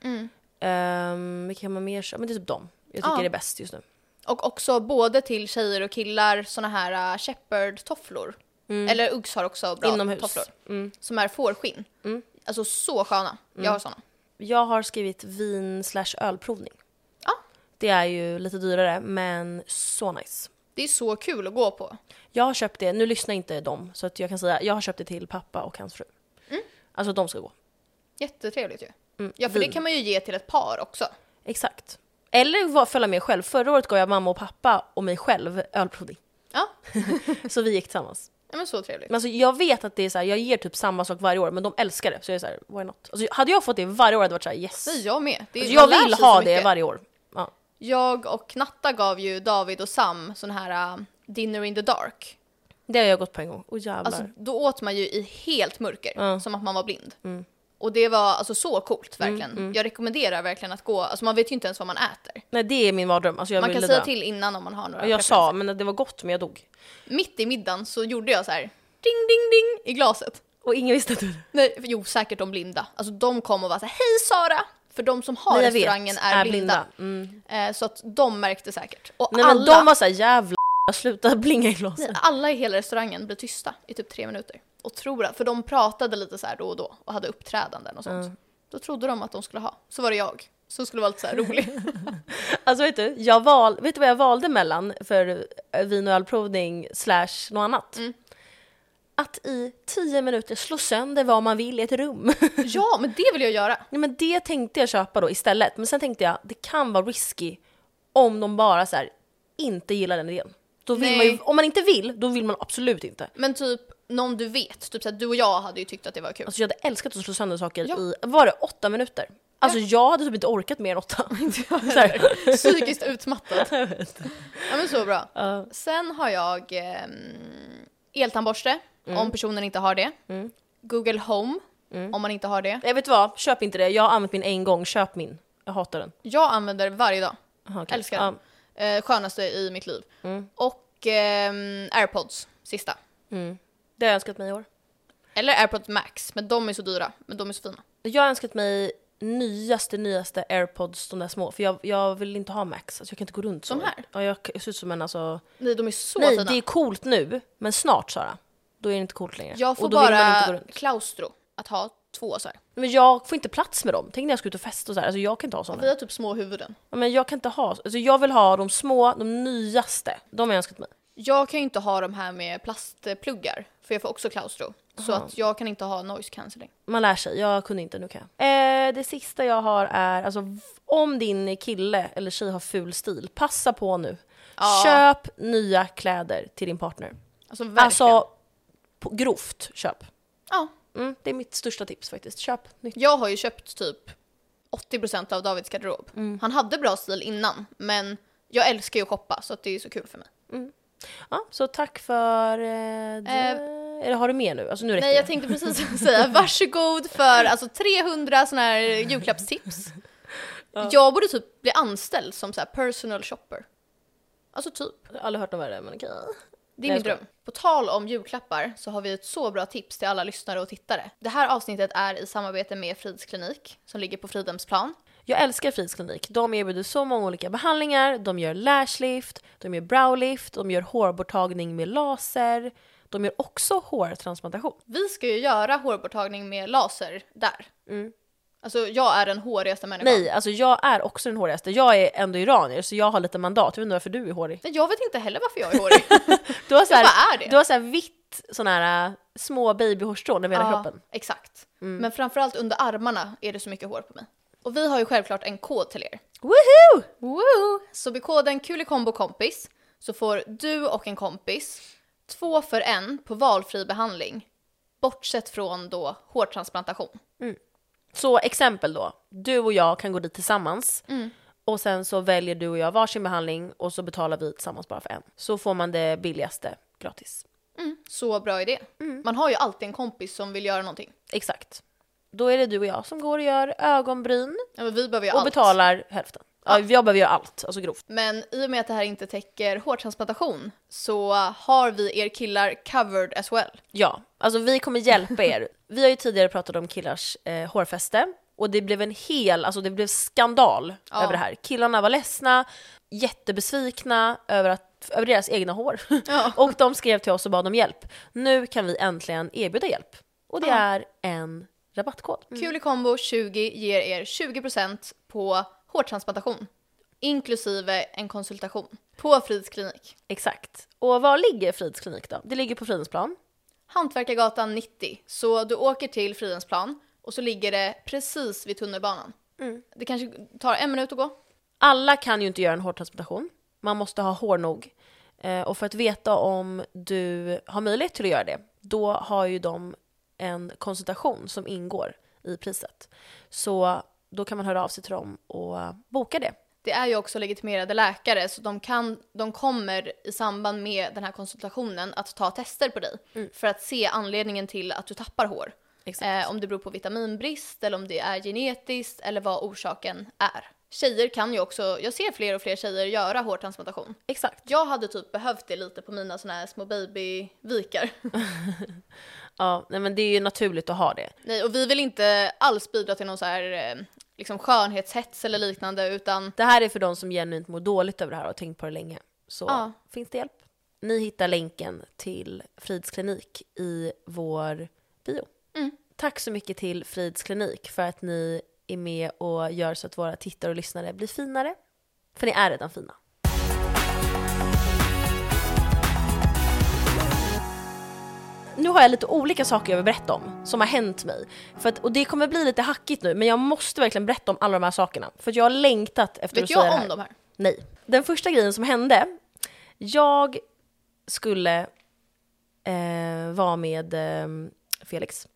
Ehm, vilka kan man mer köpa? Men det är typ dem jag tycker
Ja.
är bäst just nu.
Och också både till tjejer och killar såna här uh, shepherd-tofflor. Eller Uggs har också bra
Inomhus.
tofflor.
Mm.
Som är fårskinn. Alltså så sköna. Jag har såna.
Jag har skrivit vin slash ölprovning.
Ja.
Det är ju lite dyrare men så nice.
Det är så kul att gå på.
Jag har köpt det, nu lyssnar inte de, så att jag kan säga jag har köpt det till pappa och hans fru.
Mm.
Alltså de ska gå.
Jättetrevligt ju. Ja, för
vin.
det kan man ju ge till ett par också.
Exakt. Eller var, följa med själv. Förra året gav jag mamma och pappa och mig själv ölprovning.
Ja,
Så vi gick tillsammans.
ja men så trevligt.
Men alltså, jag vet att det är så här, jag ger typ samma sak varje år, men de älskar det. Så jag är så här, why not? Alltså, hade jag fått det varje år hade jag varit så här, yes.
Nej, jag med. Det är-
alltså, jag
man lär
vill
sig så
ha det
mycket.
varje år. Ja.
Jag och Natta gav ju David och Sam sån här äh, dinner in the dark.
Det har jag gått på en gång. Åh jävlar.
Alltså, då åt man ju i helt mörker,
Ja. Mm.
som att man var blind. Och det var alltså så coolt verkligen. Jag rekommenderar verkligen att gå, alltså man vet ju inte ens vad man äter.
Nej det är min mardröm. Alltså, jag
Man
vill
kan
dö.
säga till innan om man har några
Och Jag
preferenser.
sa, men det var gott men jag dog.
Mitt i middagen så gjorde jag så här, ding ding ding i glaset.
Och ingen visste att du...
Nej, för- jo, säkert de blinda. Alltså de kom och var så här, hej Sara! För de som har
Nej, jag vet.
restaurangen är, blinda.
Mm.
Eh, så att de märkte säkert. Och
Nej men
alla,
de var såhär, jävla sluta blinga i glasen.
nej, alla i hela restaurangen blev tysta i typ tre minuter. Och tror att, för de pratade lite så här då och då och hade uppträdanden och sånt. Då trodde de att de skulle ha. Så var det jag. Så skulle vara lite så här rolig.
Alltså vet du, jag val, vet du vad jag valde mellan för eh, vin och ölprovning slash något annat?
Mm.
Att i tio minuter slå sönder vad man vill i ett rum.
ja, men det vill jag göra.
Nej, men det tänkte jag köpa då istället, men sen tänkte jag det kan vara risky om de bara så här, inte gillar den idén. Då vill man ju,
Nej.
om man inte vill, då vill man absolut inte.
Men typ någon du vet, typ så här, du och jag hade ju tyckt att det var kul.
Alltså jag hade älskat att slå sönder saker
Ja.
i, var det åtta minuter? Alltså jag hade typ inte orkat mer än åtta. Så här.
Psykiskt utmattad. Ja men så bra.
Ja.
Sen har jag eh, eltandborste,
Mm.
om personen inte har det. Google Home, om man inte har det.
Jag Eh, vet du vad, köp inte det. Jag har använt min en gång, köp min. Jag hatar den.
Jag använder varje dag.
Aha, okej.
Älskar
Ja.
den. Eh, skönaste i mitt liv.
Mm.
Och ehm, airpods, sista.
Mm. Det har jag önskat mig i år.
Eller AirPods Max, men de är så dyra. Men de är så fina.
Jag har önskat mig nyaste, nyaste airpods, de där små. För jag, jag vill inte ha max, alltså jag kan inte gå runt så.
De här?
Ja, jag jag ser ut som en alltså...
Nej, de är så
Nej,
fina.
det är coolt nu, men snart Sara. Då är det inte coolt längre.
Jag får
och då vill man inte gå
bara
runt.
klaustro att ha två så här.
Men jag får inte plats med dem. Tänk när jag ska ut och festa och så här. Alltså jag kan inte ha sådana.
Vi har typ små huvuden.
Ja, Men jag kan inte ha, alltså jag vill ha de små, de nyaste. De har jag önskat mig.
Jag kan ju inte ha de här med plastpluggar, för jag får också klaustro. Så att jag kan inte ha noise cancelling.
Man lär sig, jag kunde inte, nu kan jag. Eh, det sista jag har är, alltså v- om din kille eller tjej har ful stil, passa på nu.
Ja.
Köp nya kläder till din partner.
Alltså verkligen.
Alltså, på, grovt köp.
ja.
Mm, det är mitt största tips faktiskt. Köp nytt.
Jag har ju köpt typ 80% av Davids garderob. Han hade bra stil innan, men jag älskar ju att shoppa så att det är så kul för mig.
Ja, så tack för... Eh, det. Eller har du mer nu? Alltså nu räcker
Nej, jag
det.
tänkte precis säga varsågod för alltså 300 sådana här julklappstips. Jag borde typ bli anställd som så här personal shopper. Alltså typ.
Jag har aldrig hört om det, men okej.
Det
Nej,
är min
jag skojar.
dröm. På tal om julklappar så har vi ett så bra tips till alla lyssnare och tittare. Det här avsnittet är i samarbete med Frids klinik som ligger på Fridhemsplan.
Jag älskar Frids klinik. De erbjuder så många olika behandlingar. De gör lashlift, de gör browlift, de gör hårborttagning med laser. De gör också hårtransplantation.
Vi ska ju göra hårborttagning med laser där. Alltså jag är den hårigaste människan.
Mm. Nej, alltså jag är också den hårigaste. Jag är ändå iranier så jag har lite mandat. Jag vet inte varför du är hårig.
Nej, Jag vet inte heller varför jag är hårig.
Du har så här,
vad är det?
Du har så här vitt sån här äh, små babyhårstrån över hela
Ja,
kroppen. Mm.
Exakt. Men framförallt under armarna är det så mycket hår på mig. Och vi har ju självklart en kod till er.
Woohoo!
Woo! Så med koden KULIKOMBOKOMPIS så får du och en kompis två för en på valfri behandling. Bortsett från då hårtransplantation.
Så exempel då, du och jag kan gå dit tillsammans
Mm.
och sen så väljer du och jag varsin behandling och så betalar vi tillsammans bara för en. Så får man det billigaste gratis.
Så bra idé. Man har ju alltid en kompis som vill göra någonting.
Exakt. Då är det du och jag som går och gör ögonbryn
Ja, men vi behöver ju
och
allt.
betalar hälften. Ja, jag behöver göra allt, alltså grovt.
Men i och med att det här inte täcker hårtransplantation så har vi er killar covered as well.
Ja, alltså vi kommer hjälpa er. Vi har ju tidigare pratat om killars eh, hårfäste och det blev en hel, alltså det blev skandal
Ja.
över det här. Killarna var ledsna, jättebesvikna över, att, över deras egna hår.
Ja.
och de skrev till oss och bad om hjälp. Nu kan vi äntligen erbjuda hjälp. Och det är en rabattkod.
Kulikombo 20 ger er 20% på hårtransplantation. Inklusive en konsultation. På Frids klinik.
Exakt. Och var ligger Frids klinik då? Det ligger på Fridhemsplan.
Hantverkargatan 90. Så du åker till Fridhemsplan och så ligger det precis vid tunnelbanan. Det kanske tar en minut att gå.
Alla kan ju inte göra en hårtransplantation. Man måste ha hår nog. Eh, och för att veta om du har möjlighet till att göra det, då har ju de en konsultation som ingår i priset. Så då kan man höra av sig till dem och boka det.
Det är ju också legitimerade läkare så de, kan, de kommer i samband med den här konsultationen att ta tester på dig för att se anledningen till att du tappar hår.
Exakt.
Eh, om det beror på vitaminbrist eller om det är genetiskt eller vad orsaken är. Tjejer kan ju också, jag ser fler och fler tjejer göra hårtransplantation.
Exakt.
Jag hade typ behövt det lite på mina såna här små babyvikar.
Ja, nej, men det är ju naturligt att ha det.
Nej, och vi vill inte alls bidra till någon så här eh, liksom skönhetshets eller liknande utan
Det här är för de som genuint mår dåligt över det här och har tänkt på det länge. Så
Ja.
finns det hjälp. Ni hittar länken till Frids klinik i vår bio. Tack så mycket till Frids klinik för att ni är med och gör så att våra tittare och lyssnare blir finare. För ni är redan fina. Nu har jag lite olika saker jag vill berätta om som har hänt mig. För att, och det kommer bli lite hackigt nu men jag måste verkligen berätta om alla de här sakerna. För att jag har längtat efter att
vet
säga det
jag
här.
om de här?
Nej. Den första grejen som hände, jag skulle eh, vara med eh, Felix.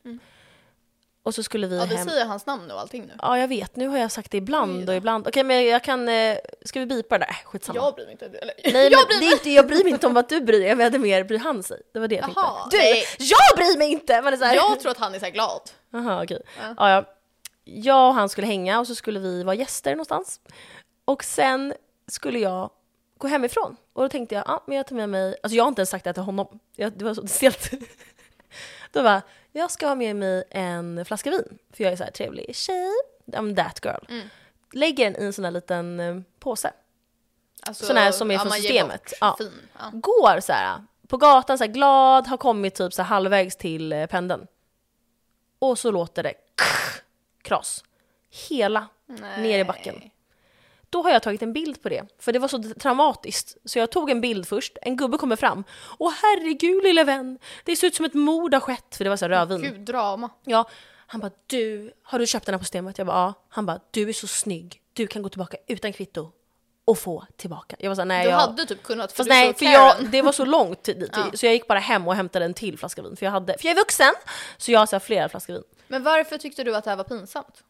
Och så skulle vi
Mm. Ja, vi
hem.
säger hans namn och allting nu.
Ja, jag vet. Nu har jag sagt det ibland och ibland. Okej, men jag kan... Eh, ska vi bipa det där? Äh, Skitsamma.
Jag bryr mig inte. Eller,
Nej,
jag
men det är inte, jag bryr mig inte om vad du bryr dig. Jag menar mer, bryr han sig? Det var det jag tänkte.
Jaha,
du!
nej.
Jag bryr mig inte! Men det är så här.
Jag tror att han är så här glad.
Jaha, okej. Ja. Ja, Jag och han skulle hänga och så skulle vi vara gäster någonstans. Och sen skulle jag gå hemifrån. Och då tänkte jag, ja, men jag tar med mig... Alltså jag har inte ens sagt det här till honom. Jag, det var så stelt. Då bara, jag ska ha med mig en flaska vin, för jag är så här trevlig tjej. I'm that girl.
Mm.
Lägger den i en sån här liten eh, påse.
Alltså,
Sån här som är från
man ger
systemet.
bort.
Ja.
Fin. Ja.
Går så här på gatan så här glad, har kommit typ så här halvvägs till eh, pendeln. Och så låter det kras. Hela
Nej.
ner i backen. Mm. Då har jag tagit en bild på det, för det var så traumatiskt. Så jag tog en bild först, en gubbe kommer fram. Åh herregud lille vän, det ser ut som ett mord har skett, för det var så här rödvin.
Gud, drama.
Ja, han bara du, har du köpt den här på systemet? Jag bara ja. Han bara du är så snygg, du kan gå tillbaka utan kvitto och få tillbaka. Jag var såhär nej
Du
jag...
hade typ kunnat, för
Fast
du
nej,
såg
för
Karen.
jag, det var så långt dit, så jag gick bara hem och hämtade en till flaska vin. För jag, hade, för jag är vuxen, så jag har så här flera flaskor vin.
Men varför tyckte du att det här var pinsamt?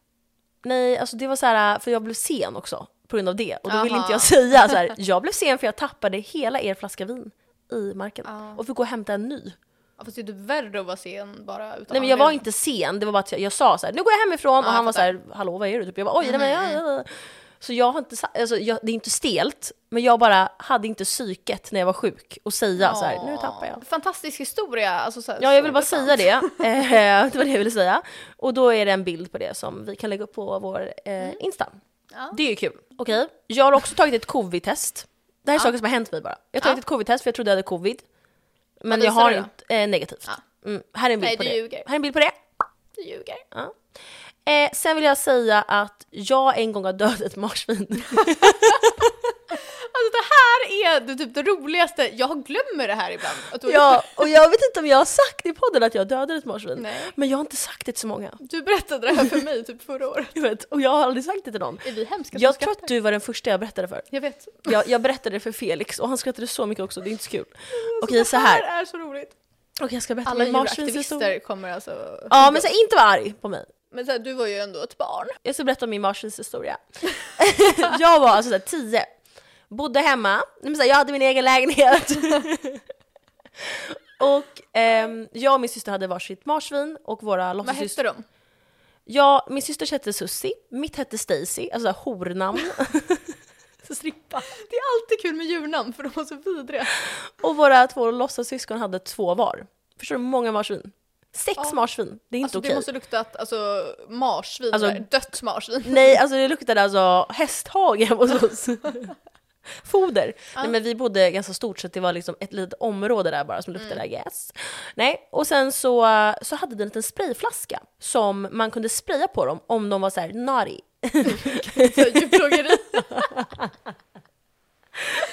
Nej, alltså det var så här, för jag blev sen också på grund av det. Och då ville
Aha.
inte jag säga så här, jag blev sen för jag tappade hela er flaska vin i marken. Och fick gå och hämta en ny.
Ja, Fast det är typ värre att vara sen bara utan
Nej men jag var
anledning.
inte sen, det var bara att jag, jag sa så här, nu går jag hemifrån och
jag
han var så
fattar. Mm,
här, hallå vad är du? Typ. Jag bara oj, nej, men jag, jag, jag. Så jag har inte sa- alltså, jag, det är inte stelt, men jag bara hade inte psyket när jag var sjuk och säga så här, nu tappar jag.
Fantastisk historia. Alltså, så här,
Ja, jag vill
så
bara
intressant.
säga det. Eh, det var det jag ville säga. Och då är det en bild på det som vi kan lägga upp på vår eh, Insta.
Mm. Ja.
Det är ju kul. Okej, jag har också tagit ett covid-test. Det här är saker som har hänt mig bara. Jag har tagit
Ja.
ett covid-test för jag trodde jag hade covid. Men
Vad
jag har
visade
inte, eh, negativt. Mm, här är en bild
Nej,
på
du
det.
ljuger.
Här är en bild på det.
Du ljuger.
Ja. Eh, sen vill jag säga att jag en gång har dödat ett marsvin.
Alltså det här är det, typ det roligaste, jag glömmer det här ibland. Att du, har gjort
ja, och jag vet inte om jag har sagt i podden att jag dödade ett marsvin.
Nej.
Men jag har inte sagt det till så många.
det. du berättade det här för mig typ förra året.
Jag vet, och jag har aldrig sagt det till någon.
Är vi hemska som
Jag tror
skrattar? Alltså,
att du var den första jag berättade för.
Jag vet.
Jag, jag berättade det för Felix och han skrattade så mycket också, det är inte så kul. Okej så
Det
här.
här är så roligt.
Okej jag ska berätta
Alla
min marsvins historia.
djuraktivister kommer alltså...
Ja men så här, inte vara arg på mig.
Men så här, du var ju ändå ett barn.
Jag ska berätta om min marsvins historia. jag var alltså så här, tio, bodde hemma, Nej, men så här, jag hade min egen lägenhet. och ehm, jag och min syster hade varsitt marsvin och våra
Vad
låtsassyster
hette de?
Ja, min systers hette Sussi, mitt hette Stacy, alltså där hornamn. Så Strippa.
Det är alltid kul med djurnamn för de var så vidriga.
Och våra två låtsassyskon hade två var. Förstår du hur många marsvin? Sex
Ja.
marsvin, det är inte
Alltså
okej.
det måste luktat alltså, marsvin,
Alltså-
alltså, dött marsvin.
Nej, alltså det luktade alltså hästhage hemma hos oss. Foder. Nej, men vi bodde ganska stort så att det var liksom ett litet område där bara som luktade mm. gräs. Nej, och sen så, så hade vi en liten sprayflaska som man kunde spraya på dem om de var så här naughty.
Så här, Djurplågeri.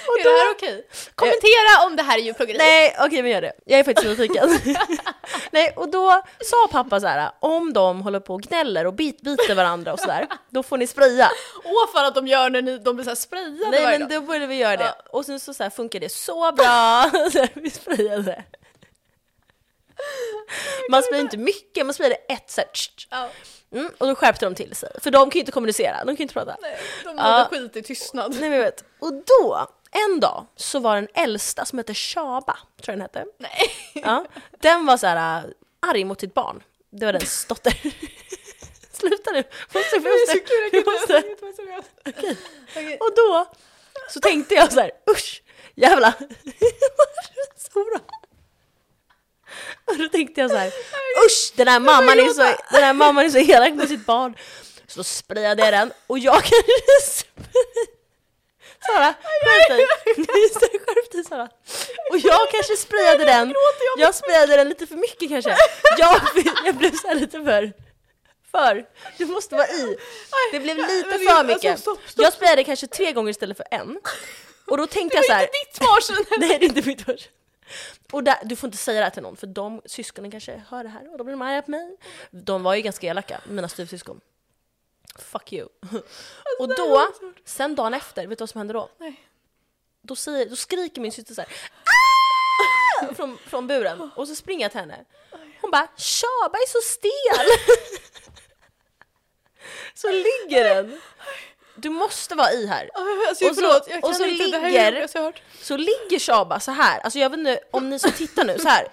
är det här okej? Kommentera om det här är djurplågeri.
Nej, okej men gör det. Jag är faktiskt nyfiken. Nej, och då sa pappa så här, om de håller på och gnäller och bit, biter varandra och sådär, då får ni spraya.
Åh fan att de gör när ni, de blir så här sprayade varje
Nej
dag.
men då borde vi göra det. Och sen så, så här, funkar det så bra, så här, vi sprayade. Man sprayar inte mycket, man sprayade ett så här, tsch, tsch.
Ja,
mm, och då skärpte de till sig. För de kan ju inte kommunicera, de kan ju inte prata. Nej,
nej, de
Ja.
mådde skit i tystnad.
men jag vet. Och då, en dag, så var den äldsta som hette Shaba, tror jag den hette.
Nej.
Ja, den var så här äh, arg mot sitt barn. Det var dens dotter. Sluta nu! Måste, måste,
Det är så kul, jag
vi
kan inte-
måste.
jag kan inte vara seriös. Okej.
Och då så tänkte jag så här, usch, jävlar. Sora. Och då tänkte jag så här, usch, den här mamman är så, den här mamman är så elak mot sitt barn. Så då sprayade jag den och jag kanske spray- Sara, skärp dig! Just det, Skärp dig Sara! Och jag kanske sprayade den, jag sprayade den lite för mycket kanske. Jag, jag blev så här lite för... För, du måste vara i. Det blev lite
men det-
för
alltså,
mycket.
stopp, stopp.
Jag sprayade kanske tre gånger istället för en. Och då tänkte jag så
Det är
här.
inte ditt marsvin!
Nej det är inte mitt hår. Och där, du får inte säga det här till någon för de syskonen kanske hör det här och då blir de arga på mig. De var ju ganska elaka, mina styvsyskon. Fuck you. och då, sen dagen efter, vet du vad som hände då?
Nej.
Då, säger, då skriker min syster så här. "Ah!" Från, från buren och så springer jag till henne. Hon bara “Tjaba är så stel!” Så ligger den. Du måste vara i här.
Alltså,
Och så-
förlåt, jag kan
och så
inte, det här är
ligger-
det roligaste jag har hört.
Så ligger Shaba så här. alltså jag vet inte om ni som tittar nu, så här.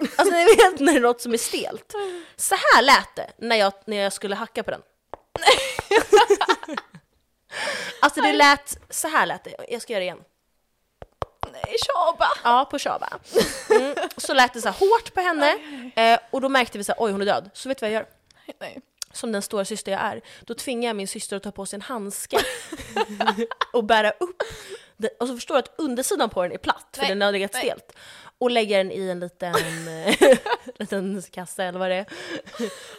Alltså ni vet när det är något som är stelt. Så här lät det när jag, när jag skulle hacka på den. Alltså det lät, så här lät det. Jag ska göra det igen.
Nej. Shaba!
Ja, på Shaba. Mm. Så lät det så här hårt på henne eh, och då märkte vi så här, oj hon är död. Så vet du vad jag gör?
Nej.
Som den stora syster jag är. Då tvingar jag min syster att ta på sig en handske och bära upp den. Och så förstår du att undersidan på den är platt för
Nej,
den har legat
nej.
stelt. Och lägger den i en liten, eh, liten kasse eller vad det är.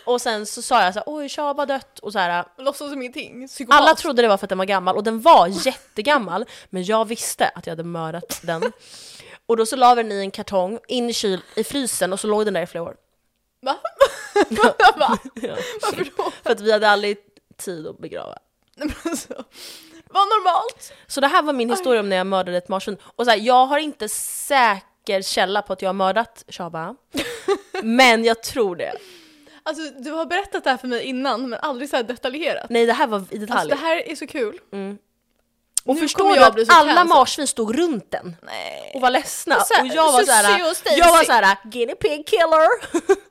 Och sen så sa jag så här, oj Shaba har dött och så här
Låtsas som ingenting. Psykopat.
alla trodde det var för att den var gammal och den var jättegammal men jag visste att jag hade mördat den. Och då så la vi den i en kartong, in i, kyl, i frysen och så låg den där i flera år.
Va? Va? Varför då?
För att vi hade aldrig tid att begrava.
Nej, men alltså, Vad normalt!
Så det här var min historia om när jag mördade ett marsvin. Och så här, jag har inte säker källa på att jag har mördat Shaba. Men jag tror det.
Alltså du har berättat det här för mig innan men aldrig så här detaljerat.
Nej det här var i
Alltså
detalj.
det här är så kul.
Mm. och
nu
förstår
kommer
du
jag bli
att
så
alla
cancelled.
marsvin stod runt den
Nej.
och var ledsna.
Och så-
Och jag var
Susie
såhär,
och Stacy.
jag var såhär, guinea pig killer.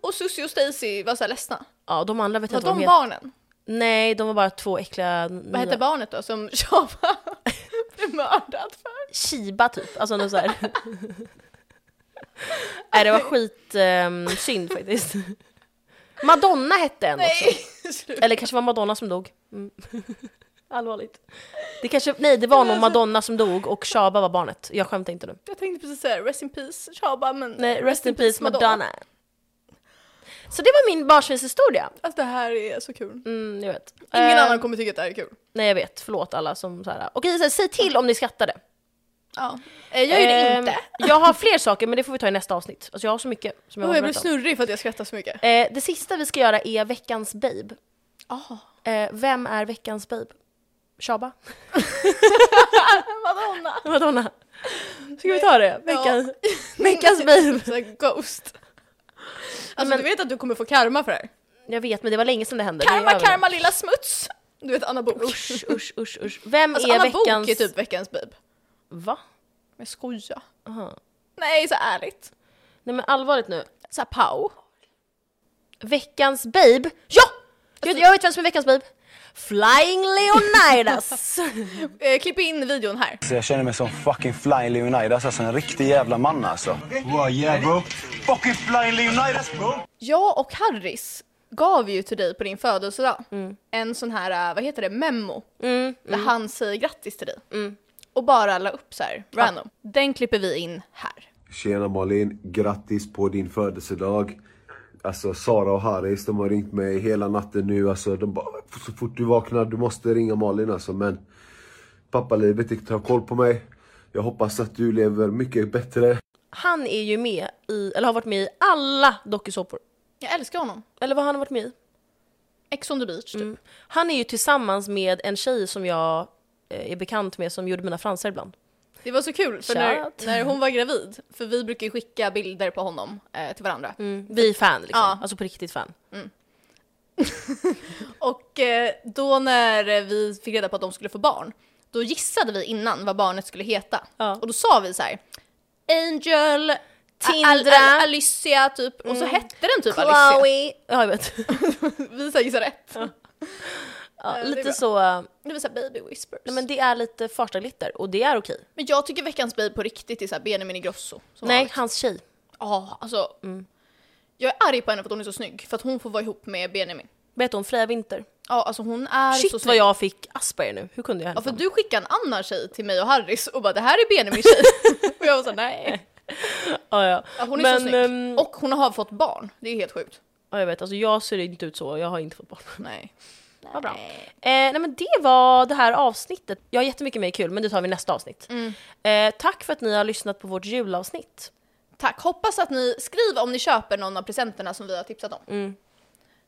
Och Susie och Stacy var så här ledsna.
Ja, de andra vet jag
Var
inte vad de
de
heter.
barnen?
Nej, de var bara två äckliga...
Vad hette barnet då som Shaba blev mördad för?
Shiba typ, alltså något såhär. Nej det var skit ehm, synd faktiskt. Madonna hette en också.
Nej! Sluta.
Eller kanske var Madonna som dog. Mm. Allvarligt. Det kanske, nej det var nog Madonna som dog och Shaba var barnet. Jag skämtar inte nu.
Jag tänkte precis säga Rest in Peace Shaba men...
Nej, rest in peace Madonna. Så det var min barnsvinshistoria.
Alltså det här är så kul.
Mm, jag vet.
Ingen
Eh,
annan kommer tycka att det här är kul.
Nej jag vet, förlåt alla som såhär. Okej, så här, säg till om ni skrattade.
Ja. Eh, Jag gör det
Ehm,
inte.
Jag har fler saker men det får vi ta i nästa avsnitt. Alltså jag har så mycket som jag har
Oh, jag blir
berätta om.
snurrig för att jag skrattar så mycket.
Eh, det sista vi ska göra är veckans babe.
Oh.
Eh, vem är veckans babe? Shaba?
Madonna!
Madonna? Ska vi ta det? Veckans, veckans babe?
Så här ghost. Alltså
men-
du vet att du kommer få karma för det här.
Jag vet men det var länge sedan det hände. Det är
Karma,
över nu.
karma lilla smuts! Du vet Anna Bok.
Usch, usch, usch, usch. Vem
Alltså
är
Anna
veckans...
Bok är typ veckans babe.
Va?
Men jag skojar.
Aha.
Nej, så ärligt.
Nej men allvarligt nu.
Så här Pau.
Veckans babe? Ja! Jag, jag vet vem som är veckans babe. Flying Leonidas!
Eh, klipp in videon här.
Alltså jag känner mig som fucking Flying Leonidas, alltså en riktig jävla man alltså. Wow, yeah bro. Fucking Flying Leonidas bro!
Jag och Harris gav ju till dig på din födelsedag en sån här, eh, vad heter det, memo. Där han säger grattis till dig. Och bara la upp så här, random. Den klipper vi in här.
Tjena Malin, grattis på din födelsedag. Alltså Sara och Haris, de har ringt mig hela natten nu. Alltså, de bara, så fort du vaknar, du måste ringa Malin alltså. Men pappalivet tar koll på mig. Jag hoppas att du lever mycket bättre.
Han är ju med i, eller har varit med i alla dokusåpor.
Jag älskar honom.
Eller vad har han har varit med i?
Ex on the beach typ.
Han är ju tillsammans med en tjej som jag eh, är bekant med som gjorde mina fransar ibland.
Det var så kul för när,
Shout.
när hon var gravid, för vi brukar ju skicka bilder på honom eh, till varandra.
Vi är fan liksom,
Ja.
alltså på riktigt fan.
Och eh, då när vi fick reda på att de skulle få barn, då gissade vi innan vad barnet skulle heta.
Ja.
Och då sa vi så här: Angel,
Tindra.
Al- Al- Alicia typ, och så hette den typ Alicia.
Mm. Chloe! Ja jag vet.
Vi så här gissade rätt.
Ja,
Eh, det är
lite
bra.
så, eh,
Det var såhär baby whispers.
nej, men
men,
det är lite farstaglitter och det är okej.
jag tycker veckans baby på riktigt är såhär Benjamin Ingrosso. som
Nej, Mm.
vanligt.
hans tjej.
Ja, alltså. Jag är arg på henne för att hon är så snygg, för att hon får vara ihop med Benjamin.
Vet hon Freja Winter?
Ja, alltså hon är
Shit
så snygg.
vad jag fick Asperger nu, hur kunde jag
Ja,
henne?
för du skickade en annan tjej till mig och Harris och bara det här är Benjamins tjej. och jag var såhär nej.
ja, ja.
Ja, hon är
Men,
så snygg.
ehm,
Och hon har fått barn, det är helt sjukt.
ja, jag vet, alltså jag ser inte ut så, jag har inte fått barn.
Nej.
Vad bra. Eh, nej men det var det här avsnittet. Jag har jättemycket mer kul men det tar vi i nästa avsnitt. Eh, tack för att ni har lyssnat på vårt julavsnitt.
Tack, hoppas att ni skriver om ni köper någon av presenterna som vi har tipsat om.
Mm.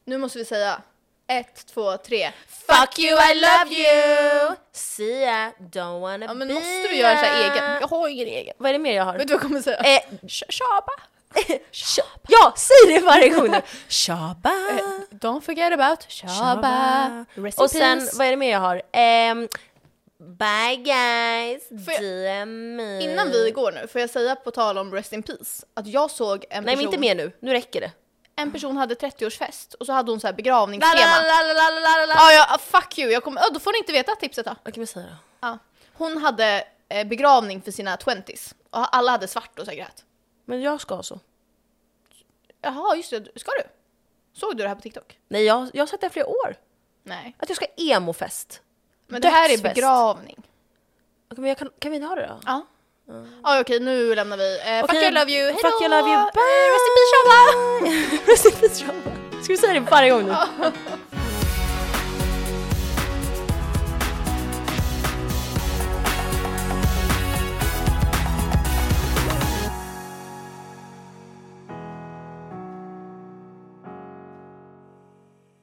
Nu måste vi säga ett, två, tre.
Fuck you, I love you! See ya, don't wanna
Ja men
be
måste du göra så här
ya.
egen? Jag har ingen egen.
Vad är det mer jag har?
Vet du vad jag kommer säga?
Eh,
Sh- Shaba.
sh- ja, säg det varje gång nu! Shaba,
Eh, Don't forget about Shaba.
shaba.
Rest in
Och sen,
peace.
vad är det mer jag har? Ehm, bye guys,
Får jag-
DM me.
Innan vi går nu, får jag säga på tal om Rest in Peace, att jag såg en
Nej men
person
inte mer nu, nu räcker det.
en person hade 30-årsfest och så hade hon så här begravningstema.
Okej
Ja, ja, ah, fuck you, jag kommer, ja, då får ni inte veta tipset då.
men säg då.
Ja. Hon hade eh, begravning för sina 20s. Och alla hade svart och så här grät.
Men jag ska så.
Jaha, just det. Ska du? Såg du det här på TikTok?
Nej, jag, jag har sett det i flera år.
Nej.
Att jag ska emo-fest.
Men det här är
Dödsfest.
begravning.
Okej, men jag kan, kan vi inte ha det då?
Ja. Ja, okej, nu lämnar vi. Eh, Fuck
Mm. Okej,
you, love you, hejdå!
Fuck you, love you,
Eh,
bye! Rest in peace, Shaba! Rest in peace, Shaba. Ska vi säga det varje gång nu?